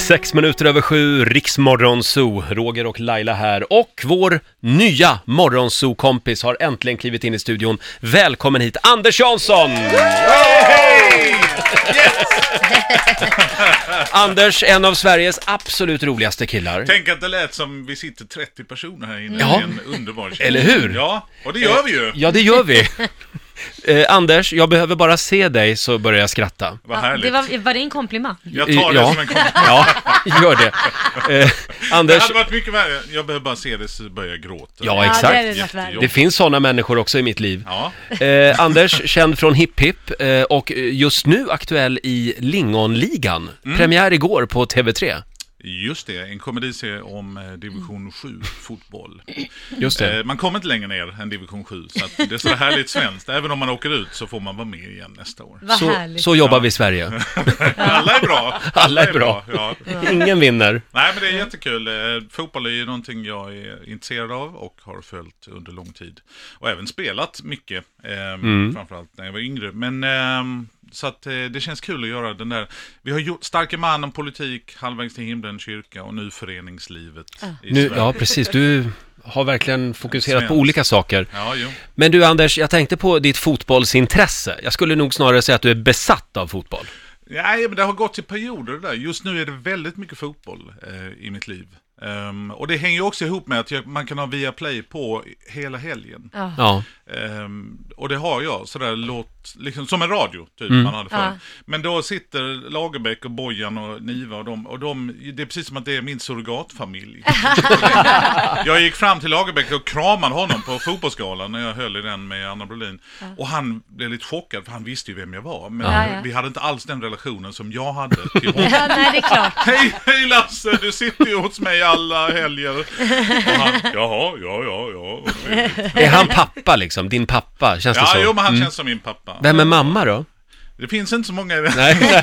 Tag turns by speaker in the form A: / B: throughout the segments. A: Sex minuter över sju, Riksmorgon Zoo, Roger och Laila här. Och vår nya morgonzoo-kompis har äntligen klivit in i studion. Välkommen hit, Anders Jansson! Anders, en av Sveriges absolut roligaste killar.
B: Tänk att det lät som vi sitter 30 personer här inne
A: Ja.
B: i en underbar känsla.
A: Eller hur?
B: Ja, och det gör vi ju.
A: Ja, det gör vi. Eh, Anders, jag behöver bara se dig så börjar jag skratta.
B: Vad
C: Ja,
B: härligt.
C: det var, var det en komplimang?
B: Jag tar det
A: Ja.
B: som en komplimang.
A: Ja, gör det. Eh,
B: Det
A: Anders,
B: hade varit mycket värre. Jag behöver bara se det så börjar jag gråta.
A: Ja,
C: Ja,
A: exakt.
C: det hade varit värre.
A: det finns sådana människor också i mitt liv.
B: Ja.
A: Eh, Anders, känd från Hipp Hipp eh, och eh, just nu aktuell i Lingonligan.
B: Mm.
A: Premiär igår på TV3.
B: Just det, en komediserie om eh, division 7-fotboll.
A: Just det.
B: Man kommer inte längre ner än division 7, så att det är så härligt svenskt. Även om man åker ut så får man vara med igen nästa år.
C: Vad
A: så,
C: härligt.
A: så jobbar vi i Sverige.
B: Alla är bra.
A: Alla är bra.
B: Ja.
A: Ingen vinner.
B: Nej, men det är
A: Mm.
B: jättekul. Eh, Fotboll är ju någonting jag är intresserad av och har följt under lång tid. Och även spelat mycket, eh,
A: Mm.
B: framförallt när jag var yngre. Men, ehm, så att eh, det känns kul att göra den där. Vi har gjort Starke man om politik, Halvvägs till himlen, kyrka och nu föreningslivet i
A: Nu,
B: Sverige.
A: ja, precis. Du har verkligen fokuserat på
B: Svenskt.
A: olika saker.
B: Ja, jo.
A: Men du Anders, jag tänkte på ditt fotbollsintresse. Jag skulle nog snarare säga att du är besatt av fotboll.
B: Nej, men det har gått till perioder det där. Just nu är det väldigt mycket fotboll eh, i mitt liv. Ehm, och det hänger ju också ihop med att jag, man kan ha Viaplay på hela helgen.
A: Ja,
B: Ehm, och det har jag, sådär låt, liksom som en radio typ man hade förr.
C: Ja.
B: Men då sitter Lagerbäck och Bojan och Niva och de, och de, det är precis som att det är min surrogatfamilj. jag gick fram till Lagerbäck och kramade honom på fotbollsgalan när jag höll i den med Anna Brolin. Och han blev lite chockad för han visste ju vem jag var. Men
C: Ja, ja.
B: vi hade inte alls den relationen som jag hade till honom.
C: Ja, nej, det är klart.
B: Hej, hej Lasse, du sitter ju hos mig alla helger. Och han, jaha, ja, ja, ja. vad trevligt."
A: är han pappa liksom? Din pappa? Känns det
B: Ja,
A: så?
B: jo, men han känns som min pappa.
A: Vem är mamma då?
B: Det finns inte så många i den.
A: Nej.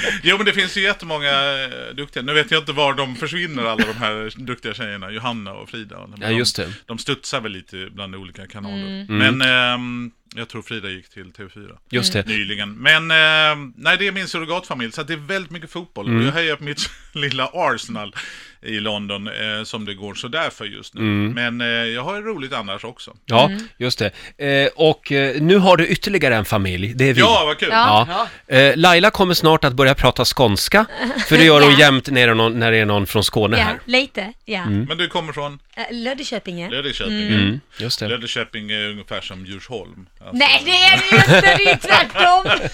B: Jo, men det finns ju jättemånga eh, duktiga. Nu vet jag inte var de försvinner, alla de här duktiga tjejerna. Johanna och Frida. Men
A: Ja, just det. Mm.
B: De, de studsar väl lite bland olika kanaler. Men ehm, jag tror Frida gick till TV4
A: Just det.
B: nyligen. Men ehm, nej, det är min surrogatfamilj, så att det är väldigt mycket fotboll.
A: Mm.
B: Och jag hejar på mitt lilla Arsenal i London, eh, som det går sådär för just nu.
A: Mm.
B: Men eh, jag har ju roligt annars också.
A: Ja, just det. Eh, och eh, nu har du ytterligare en familj, det är vi.
B: Ja, vad kul!
A: Ja. Eh, Laila kommer snart att börja prata skånska, för det gör hon
C: Ja.
A: jämt när det, är någon, när det är någon från Skåne
C: Ja,
A: här.
C: lite. Ja.
B: Men du kommer från
C: Eh, Löddeköpinge.
B: Löddeköping.
A: Mm, just det.
B: Löddeköping är ungefär som Djursholm. Alltså,
C: Nej, det är det ju inte. Det är ju tvärtom.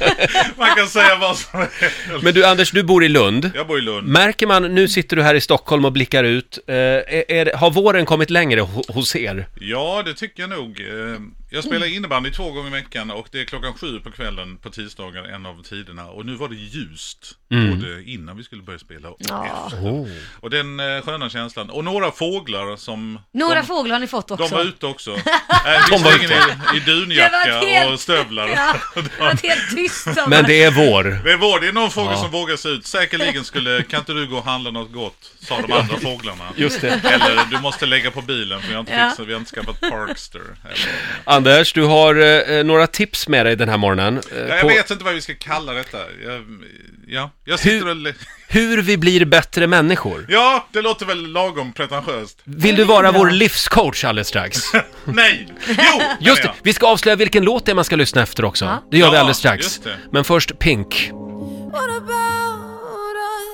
B: Man kan säga vad som helst.
A: Men du Anders, du bor i Lund.
B: Jag bor i Lund.
A: Märker man, nu sitter du här i Stockholm och blickar ut, eh, är, är, det- har våren kommit längre ho- hos er?
B: Ja, det tycker jag nog. Eh, Jag spelar innebandy två gånger i veckan och det är klockan sju på kvällen på tisdagar, en av tiderna. Och nu var det ljust,
C: Mm.
B: både innan vi skulle börja spela och efter.
C: Oh.
B: Och den eh, sköna känslan. Och några fåglar som...
C: Några
B: de,
C: fåglar har ni fått också.
B: De var ute också. Eh,
A: De var
B: Visserligen i, i
C: Det
B: dunjacka
C: var helt-
B: och stövlar.
C: Ja, det var helt tyst. om
A: Men
C: det.
A: det är vår.
B: Det är vår, det är någon fågel som vågar sig ut. Säkerligen skulle, kan inte du gå och handla något gott? Sa de andra fåglarna.
A: Just det.
B: Eller du måste lägga på bilen för vi har inte,
C: Ja.
B: fixat, vi har inte skaffat Parkster. Eller,
A: Anders, du har eh, några tips med dig den här morgonen. eh,
B: jag
A: på
B: vet inte vad vi ska kalla detta. Jag, ja, jag sitter och...
A: Hur vi blir bättre människor.
B: Ja, det låter väl lagom pretentiöst.
A: Vill du vara vår livscoach alldeles strax?
B: Nej! Jo!
A: Just det,
B: menar
A: vi ska avslöja vilken låt det är man ska lyssna efter också. Det gör vi
B: Ja,
A: alldeles strax.
B: just det.
A: Men först Pink.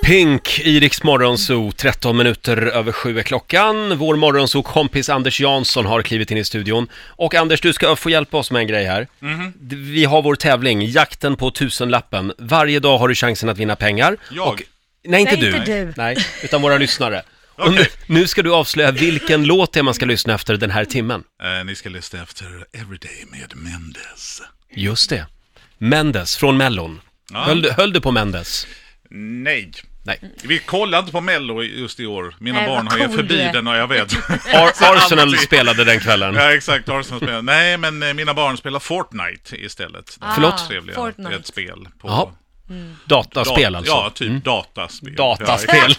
A: Pink, Iriks morgonzoo, 13 minuter över sju är klockan. Vår morgonzoo-kompis Anders Jansson har klivit in i studion. Och Anders, du ska få hjälpa oss med en grej här.
B: Mhm.
A: D- Vi har vår tävling, jakten på tusenlappen. Varje dag har du chansen att vinna pengar.
B: Jag?
A: nej, inte
C: Nej,
A: du.
C: inte du.
A: Nej, utan våra lyssnare. Och
B: Okej.
A: nu, nu ska du avslöja vilken låt det är man ska lyssna efter den här timmen.
B: jag. Eh, ni ska lyssna efter Everyday med Mendes.
A: Just det. Mendes från Mellon. Höll, du- höll du på Mendes?
B: Nej.
A: Nej.
B: Vi kollar inte på Mello just i år. Mina
C: Nej,
B: barn
C: vad
B: har ju
C: cool
B: förbi
C: du är.
B: den och jag vet.
A: Ar- Arsenal
B: Alltid.
A: spelade den kvällen.
B: Ja, exakt. Arsenal spelar. Nej, men eh, mina barn spelar Fortnite istället. Det är
A: Förlåt?
B: ett Trevligare.
C: Fortnite.
B: Det är ett spel. På
A: Jaha.
C: Mm.
A: Dataspel alltså.
B: Ja, typ dataspel. Ja,
A: Dataspel.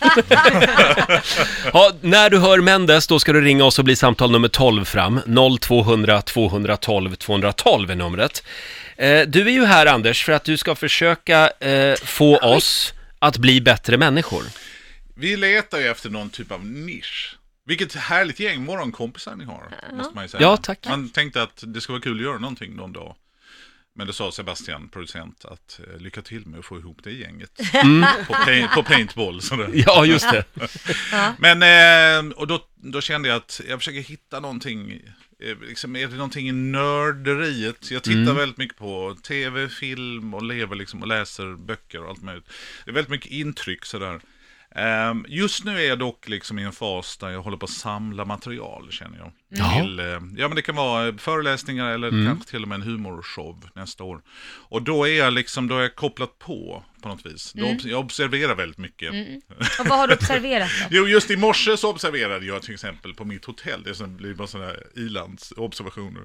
A: ja, när du hör Mendes, då ska du ringa oss och bli samtal nummer 12 fram. 0200 212 212 är numret. Eh, du är ju här Anders för att du ska försöka eh, få oss att bli bättre människor.
B: Vi letar ju efter någon typ av nisch. Vilket härligt gäng morgonkompisar ni har, måste man ju säga.
A: Ja, tack.
B: Man tänkte att det skulle vara kul att göra någonting någon dag. Men det sa Sebastian, producent, att eh, lycka till med att få ihop det gänget. På, pay- på paintball. Sådär.
A: Mm. Ja, just det.
B: Men, eh, och då, då kände jag att jag försöker hitta någonting, eh, liksom, är det någonting i nörderiet? Jag tittar väldigt mycket på tv, film och lever liksom och läser böcker och allt möjligt. Det är väldigt mycket intryck sådär. Ehm, Just nu är jag dock liksom i en fas där jag håller på att samla material känner jag.
A: Jaha.
B: Till, eh, ja men det kan vara eh, föreläsningar eller kanske till och med en humorshow nästa år. Och då är jag liksom, då har jag kopplat på på något vis. Då obs- Jag observerar väldigt mycket.
C: Och vad har du observerat då?
B: Jo, just i morse så observerade jag till exempel på mitt hotell, det som blir bara sådana här ilandsobservationer.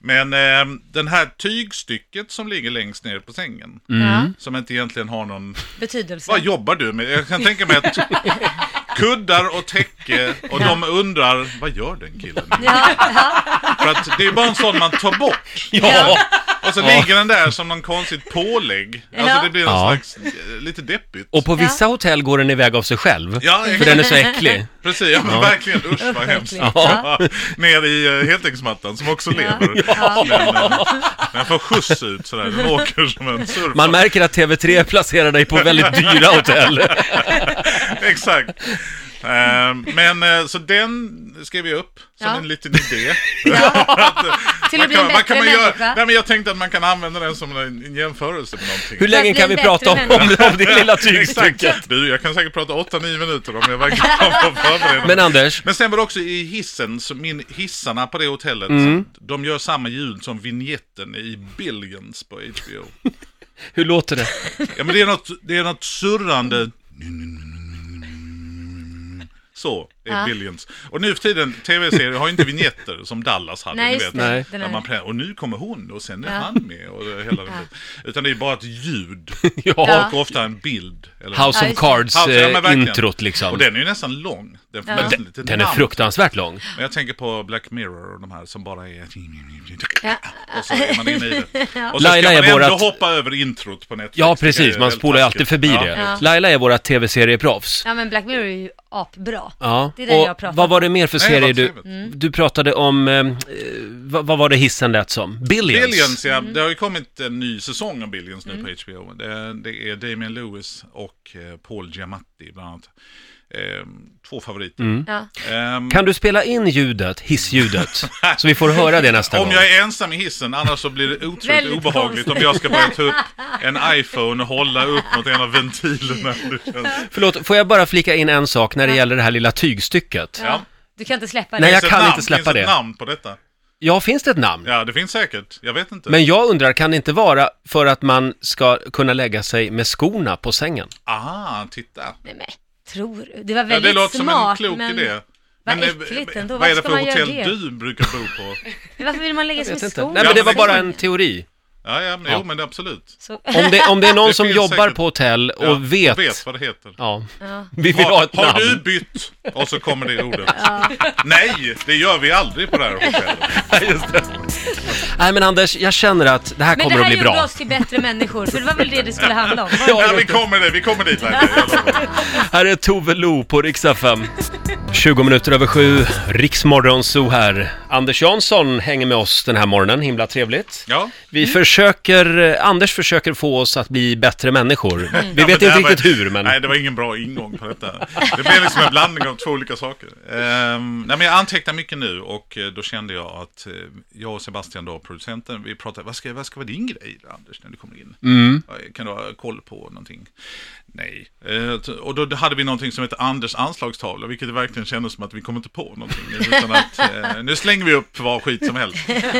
B: Men eh, den här tygstycket som ligger längst ner på sängen,
C: Mm. Ja,
B: som inte egentligen har någon...
C: betydelse.
B: Vad jobbar du med? Jag kan tänka mig att kuddar och täcke och de undrar, vad gör den killen?
C: Ja, ja.
B: För att det är bara en sån man tar bort.
A: Ja,
B: Och så ligger den där som någon konstigt pålägg. Alltså
C: Ja.
B: det blir en
A: Ja.
B: slags, eh, lite deppigt.
A: och på vissa hotell går den iväg av sig själv.
B: Ja,
A: För den är så äcklig.
B: Precis, ja, men verkligen. Usch vad hemskt.
C: verkligen.
B: Ja. Ner i eh, heltäckningsmattan som också lever. Men, eh, den får skjuts ut sådär, den åker som en surfare.
A: Man märker att TV3 placerar dig på väldigt dyra hotell.
B: Exakt. Eh, men eh, så den skrev jag upp som
C: Ja.
B: en liten idé.
C: Till
B: Man
C: att bli en
B: kan, man
C: bättre
B: kan man göra,
C: människa.
B: nej, men jag tänkte att man kan använda den som en, en jämförelse med någonting.
A: Hur länge
C: bli
A: kan vi
C: en
A: prata om,
C: bättre
A: om, om det lilla
B: Exakt.
A: tygstycket?
B: Du, jag kan säkert prata 8-9 minuter om jag verkligen har förberett
A: Men Anders,
B: Men sen var det också i hissen, så min hissarna på det hotellet,
A: Mm.
B: de gör samma ljud som vignetten i Billions på HBO.
A: hur låter det?
B: Ja men det är något, det är något surrande... Så är
C: Ja.
B: Billions. Och nu för tiden, tv-serier har ju inte vignetter som Dallas hade,
C: Nej,
B: ni
C: just
B: vet.
C: det.
A: Nej.
C: Den
B: Där
C: här.
B: man, prä- och nu kommer hon och sen är
C: Ja.
B: han med och hela den biten. Utan det är bara ett ljud
A: Ja.
B: och ofta en bild. Eller
A: House
C: Ja,
A: of
C: just det.
B: House, ja, men verkligen.
A: Cards-introt
B: och
A: liksom.
B: den är ju nästan lång. Den, får
C: Ja.
B: nästan lite
A: Den är
B: namn.
A: fruktansvärt lång.
B: Men jag tänker på Black Mirror och de här som bara är...
C: Ja.
B: Och så är man inne i det. Och så
A: Laila
B: ska man
A: är
B: ändå
A: vårat-
B: hoppa över introt på Netflix.
A: Ja,
B: Det
A: precis.
B: är
A: Man
B: väldigt
A: spolar ju alltid
B: taskigt.
A: förbi
B: Ja.
A: det.
C: Ja.
A: Laila är våra tv-serieproffs.
C: ja, men Black Mirror är ju apbra.
A: Ja.
C: Det är den
A: och
C: jag pratar Mm.
A: vad var det mer för
B: Nej,
A: serier
B: vad
A: du...
B: trevligt.
A: Du pratade om... Eh, eh, vad, vad var det hissen lät som? Billions?
B: Billions,
C: Mm.
B: ja. Det har ju kommit en ny säsong av Billions nu på HBO. Det, det är Damien Lewis och eh, Paul Giamatti bland annat. Ehm, två favoriter.
A: Mm.
C: Ja.
B: Ehm,
A: Kan du spela in ljudet, hissljudet? så vi får höra det nästa
B: om
A: gång.
B: jag är ensam i hissen, annars så blir det otroligt
C: Väldigt
B: obehagligt om
C: konstigt.
B: jag ska börja ta upp en iPhone och hålla upp mot en av ventilerna. Det känns...
A: Förlåt, får jag bara flika in en sak när det gäller det här lilla tygstycket?
B: Ja.
C: Du kan inte släppa
A: Nej,
C: det.
A: jag
B: Finns ett
A: kan
B: namn?
A: inte släppa
B: finns
A: det.
B: Ett namn på detta?
A: Ja, finns det ett namn?
B: Ja, det finns säkert. Jag vet inte.
A: Men jag undrar, kan det inte vara för att man ska kunna lägga sig med skorna på sängen?
B: Ah, titta.
C: Nej, men, tror du? Det var
B: Ja,
C: väldigt
B: det låter
C: smart,
B: som en klok
C: men...
B: idé.
C: vad
B: eh,
C: äckligt ändå.
B: Vad är det
C: Varför ska
B: för
C: man göra
B: hotell
C: det?
B: du brukar bo på?
C: Varför vill man lägga sig
A: Vet
C: med
A: inte.
C: skorna?
A: Nej, men det var
B: men-
A: bara en teori.
B: Ja, ja, men,
A: Ja.
B: jo, men det är absolut.
C: Så...
A: Om det, om det är någon
B: Det
A: som
B: finns
A: jobbar
B: säkert.
A: på hotell och
B: Ja,
A: vet...
B: vet vad det heter.
A: Ja,
C: Ja.
A: vi vill ha
B: Har,
A: ett
B: har
A: namn.
B: du bytt? Och så kommer det ordet. Nej, det gör vi aldrig på det här hotellet.
A: Nej men Anders, jag känner att det här
C: Men
A: kommer
C: det
A: att
C: här
A: bli
C: gjorde
A: bra.
C: oss till bättre människor, för det var väl det det skulle handla om?
A: Ja,
B: Ja,
A: det-
B: vi kommer dit, vi kommer dit verkligen. Jag lovar.
A: Här är Tove Lo på Rix FM. 20 minuter över sju, Riksmorgon Zoo här. Anders Jansson hänger med oss den här morgonen, himla trevligt.
B: Ja. Mm.
A: Vi försöker, eh, Anders försöker få oss att bli bättre människor. Vi
B: Mm. Ja,
A: vet
B: men det
A: inte
B: här var-
A: riktigt hur, men...
B: Nej, det var ingen bra ingång på detta. Det blev liksom en blandning av två olika saker. Ehm, nej, men jag antecknar mycket nu och eh, då kände jag att eh, jag och Sebastian, då, producenten, vi pratade, vad ska, vad ska vara din grej, då, Anders, när du kommer in?
A: Mm.
B: Ja, Kan du ha koll på någonting? Nej. Eh, t- och då hade vi någonting som heter Anders anslagstavla, vilket det verkligen kändes som att vi kom inte på någonting. Utan att, eh, nu slänger vi upp vad skit som helst.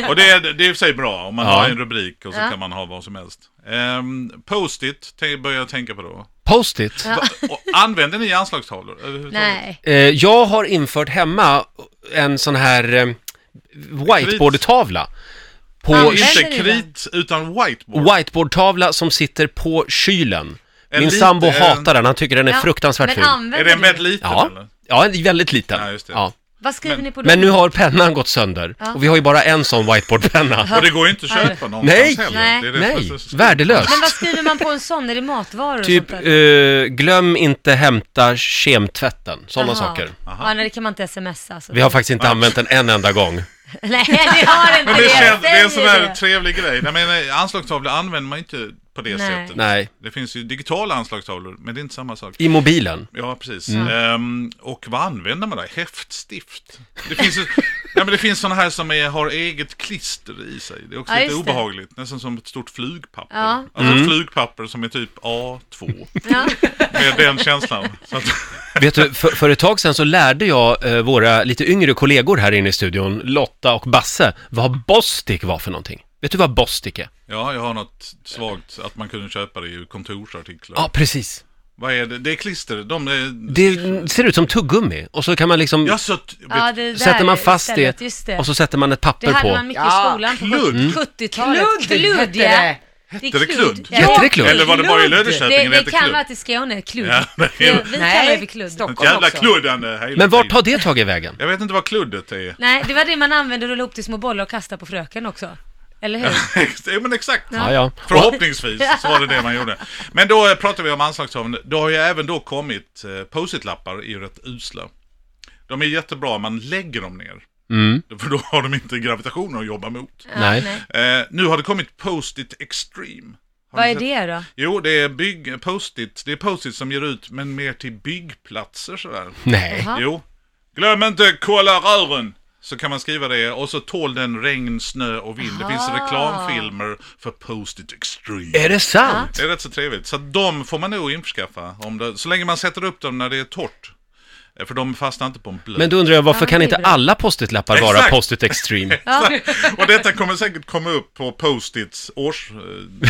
B: Och det är, det är i och för sig bra, om man
A: Ja.
B: har en rubrik och så
C: Ja.
B: kan man ha vad som helst. Ehm, Post-it te- börjar jag tänka på då.
A: Post-it?
B: Va, och använder ni anslagstavlor överhuvudtaget?
C: Nej.
A: Eh, jag har infört hemma en sån här eh, whiteboardtavla. På
C: Använder
A: sh-
B: Inte
C: Eller i
B: krit utan whiteboard.
A: whiteboardtavla som sitter på kylen.
B: En
A: Min
B: liten- eh,
A: sambo hatar den, han tycker den är
C: Ja,
A: fruktansvärt ful.
C: Men använder
B: Är den
C: du
B: väldigt liten
A: Ja,
B: eller?
A: ja, en väldigt liten.
B: Ja, just det.
C: Vad skriver
B: Men-
C: ni på då?
A: Men nu har pennan gått sönder
C: Ja.
A: och vi har ju bara en sån whiteboardpenna.
B: Och det går ju inte att köpa någonstans
A: Nej.
B: heller.
C: Nej.
B: Det är det som är
A: Nej,
B: så- så-
A: värdelös.
C: Men vad skriver man på en sån? Är det matvaror och
A: Typ,
C: sånt där?
A: eh, glöm inte hämta kemtvätten. Sådana
C: Jaha.
A: saker.
B: Aha.
C: Ja, nej, det kan man inte smsa. Så.
A: Vi har faktiskt inte använt den en enda gång.
C: Nej, vi har inte
B: Men det, känns, det är en
C: Jag
B: sån
C: säger
B: här
C: det.
B: trevlig grej. Nej, men eh, anslagstavlor använder man ju inte på det
C: Nej.
B: sättet.
A: Nej,
B: Det finns ju digitala anslagstavlor, men det är inte samma sak.
A: i Mm. mobilen.
B: Ja, precis. Ehm, och vad använder man då? Häftstift? Det finns, ju- ja, men det finns sådana här som är, har eget klister i sig. Det är också
C: Ja,
B: lite
C: just det.
B: obehagligt. Nästan som ett stort flygpapper.
C: Ja.
B: Alltså
A: Mm.
B: ett flygpapper som är typ A2.
C: Ja.
B: Med den känslan. Så att,
A: Vet du, för, för ett tag sedan så lärde jag eh, våra lite yngre kollegor här inne i studion, Lotta och Basse, vad bostik var för någonting. Vet du vad bostik är?
B: ja, jag har något svagt att man kunde köpa det i kontorsartiklar.
A: Ja, precis.
B: Vad är det? Det är klister. De är...
A: Det ser ut som tuggummi och så kan man liksom,
B: Ja, så... att-
C: ja, det där
A: sätter man fast
C: stället,
A: det,
C: Just det.
A: och så sätter man ett papper
C: det hade
A: på.
C: man mycket
D: Ja,
C: i skolan på
B: kludd. Mm.
C: 70-talet.
D: Kludd hette
C: ja.
D: det.
B: Hette det kludd?
C: Ja.
A: Hette det kludd?
B: Eller var det bara i Löddeköping?
C: Det, det
B: heter
C: kan
B: klubb?
C: vara att i Skåne, kludd.
B: Ja,
C: vi
B: nej.
C: vi kallar det för kludd.
B: Ett
D: Stockholm
B: jävla
D: också.
B: kluddande hela
A: Men vart
B: tiden.
A: har det tagit vägen?
B: Jag vet inte vad kluddet är.
C: Nej, det var det man använde att rulla ihop till små bollar och kasta på fröken också. Eller hur?
B: ja, men exakt.
A: Ja, ja.
B: Förhoppningsvis så var det det man gjorde. Men då eh, pratar vi om anslagstavlan. Då har ju även då kommit eh, post-it-lappar är ju rätt usla. De är jättebra om man lägger dem ner. För då har de inte gravitationen att jobba mot.
A: Nej.
B: Eh, nu har det kommit post-it extreme. Har
C: Vad
B: ni
C: är
B: sett-
C: det då?
B: Jo, det är bygg, post-it. Det är post-it som ger ut, men mer till byggplatser sådär.
A: Nej.
C: Jaha.
B: Jo. Glöm inte kolla rören! Så kan man skriva det och så tål den regn, snö och vind. Det finns reklamfilmer för Post-it Extreme.
A: Är det sant?
B: Det är rätt så trevligt. Så de får man nog införskaffa. Om det, så länge man sätter upp dem när det är torrt. Eh, För de fastnar inte på en blöt.
A: Men då undrar jag, varför
C: Ja,
A: kan
C: det är
A: inte
C: bra.
A: alla post-it-lappar vara
B: Exakt.
A: post-it extreme?
C: Ja.
B: Och detta kommer säkert komma upp på Post-its års... eh,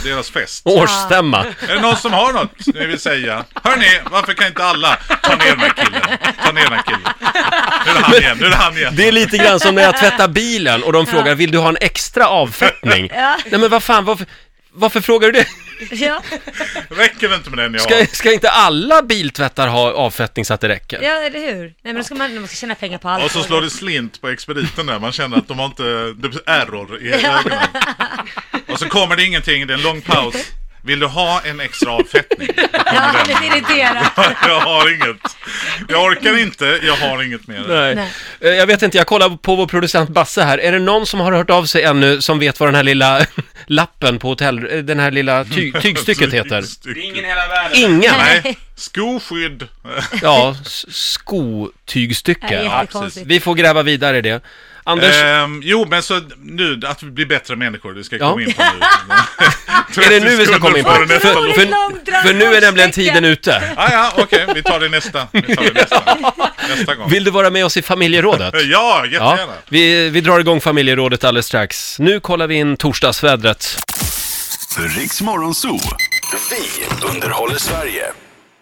B: Deras fest.
A: Årsstämma.
B: Är det någon som har något ni vill säga? Hörni, varför kan inte alla ta ner den här killen? Ta ner den här killen. Nu är det han igen, nu är det han igen.
A: Det är lite grann som när jag tvättar bilen och de frågar, vill du ha en extra avfettning?
C: Ja.
A: Nej men vad fan, varför, varför frågar du det?
C: Ja.
B: Räcker det inte med den jag har?
A: Ska, ska inte alla biltvättar ha avfettning så att det räcker?
C: ja, eller hur? Nej, men då ska man, man ska tjäna pengar på allt.
B: Och så slår det slint på expediten där, man känner att de har inte, det blir error i ögonen. Och så kommer det ingenting, det är en lång paus. Vill du ha en extra avfettning?
C: Ja, det är irriterande.
B: Jag har inget. Jag orkar inte, jag har inget mer.
A: Nej.
C: Nej.
A: Eh, Jag vet inte, jag kollar på vår producent Basse här. Är det någon som har hört av sig ännu som vet vad den här lilla lappen på hotell, eh, den här lilla ty, tygstycket heter?
B: Tygstycket.
D: Ingen i hela världen.
A: Ingen!
B: Nej, skoskydd.
A: Ja, s- skotygstycke.
C: Nej,
A: Ja,
C: jättekonstigt.
A: vi får gräva vidare i det. Anders,
B: Ehm, jo, men så nu, att vi blir bättre människor, det ska jag
A: Ja.
B: komma in på nu.
A: är det nu vi ska komma in på? För,
B: För nästa
A: för,
B: låt.
A: för, för nu är nämligen tiden ute.
B: Ah, ja, okej, vi tar det nästa. Vi tar det nästa. nästa gång.
A: Vill du vara med oss i familjerådet?
B: Ja,
A: Ja,
B: jättegärna.
A: vi, vi drar igång familjerådet alldeles strax. Nu kollar vi in torsdagsvädret.
E: Riks Morgonzoo. Vi underhåller Sverige.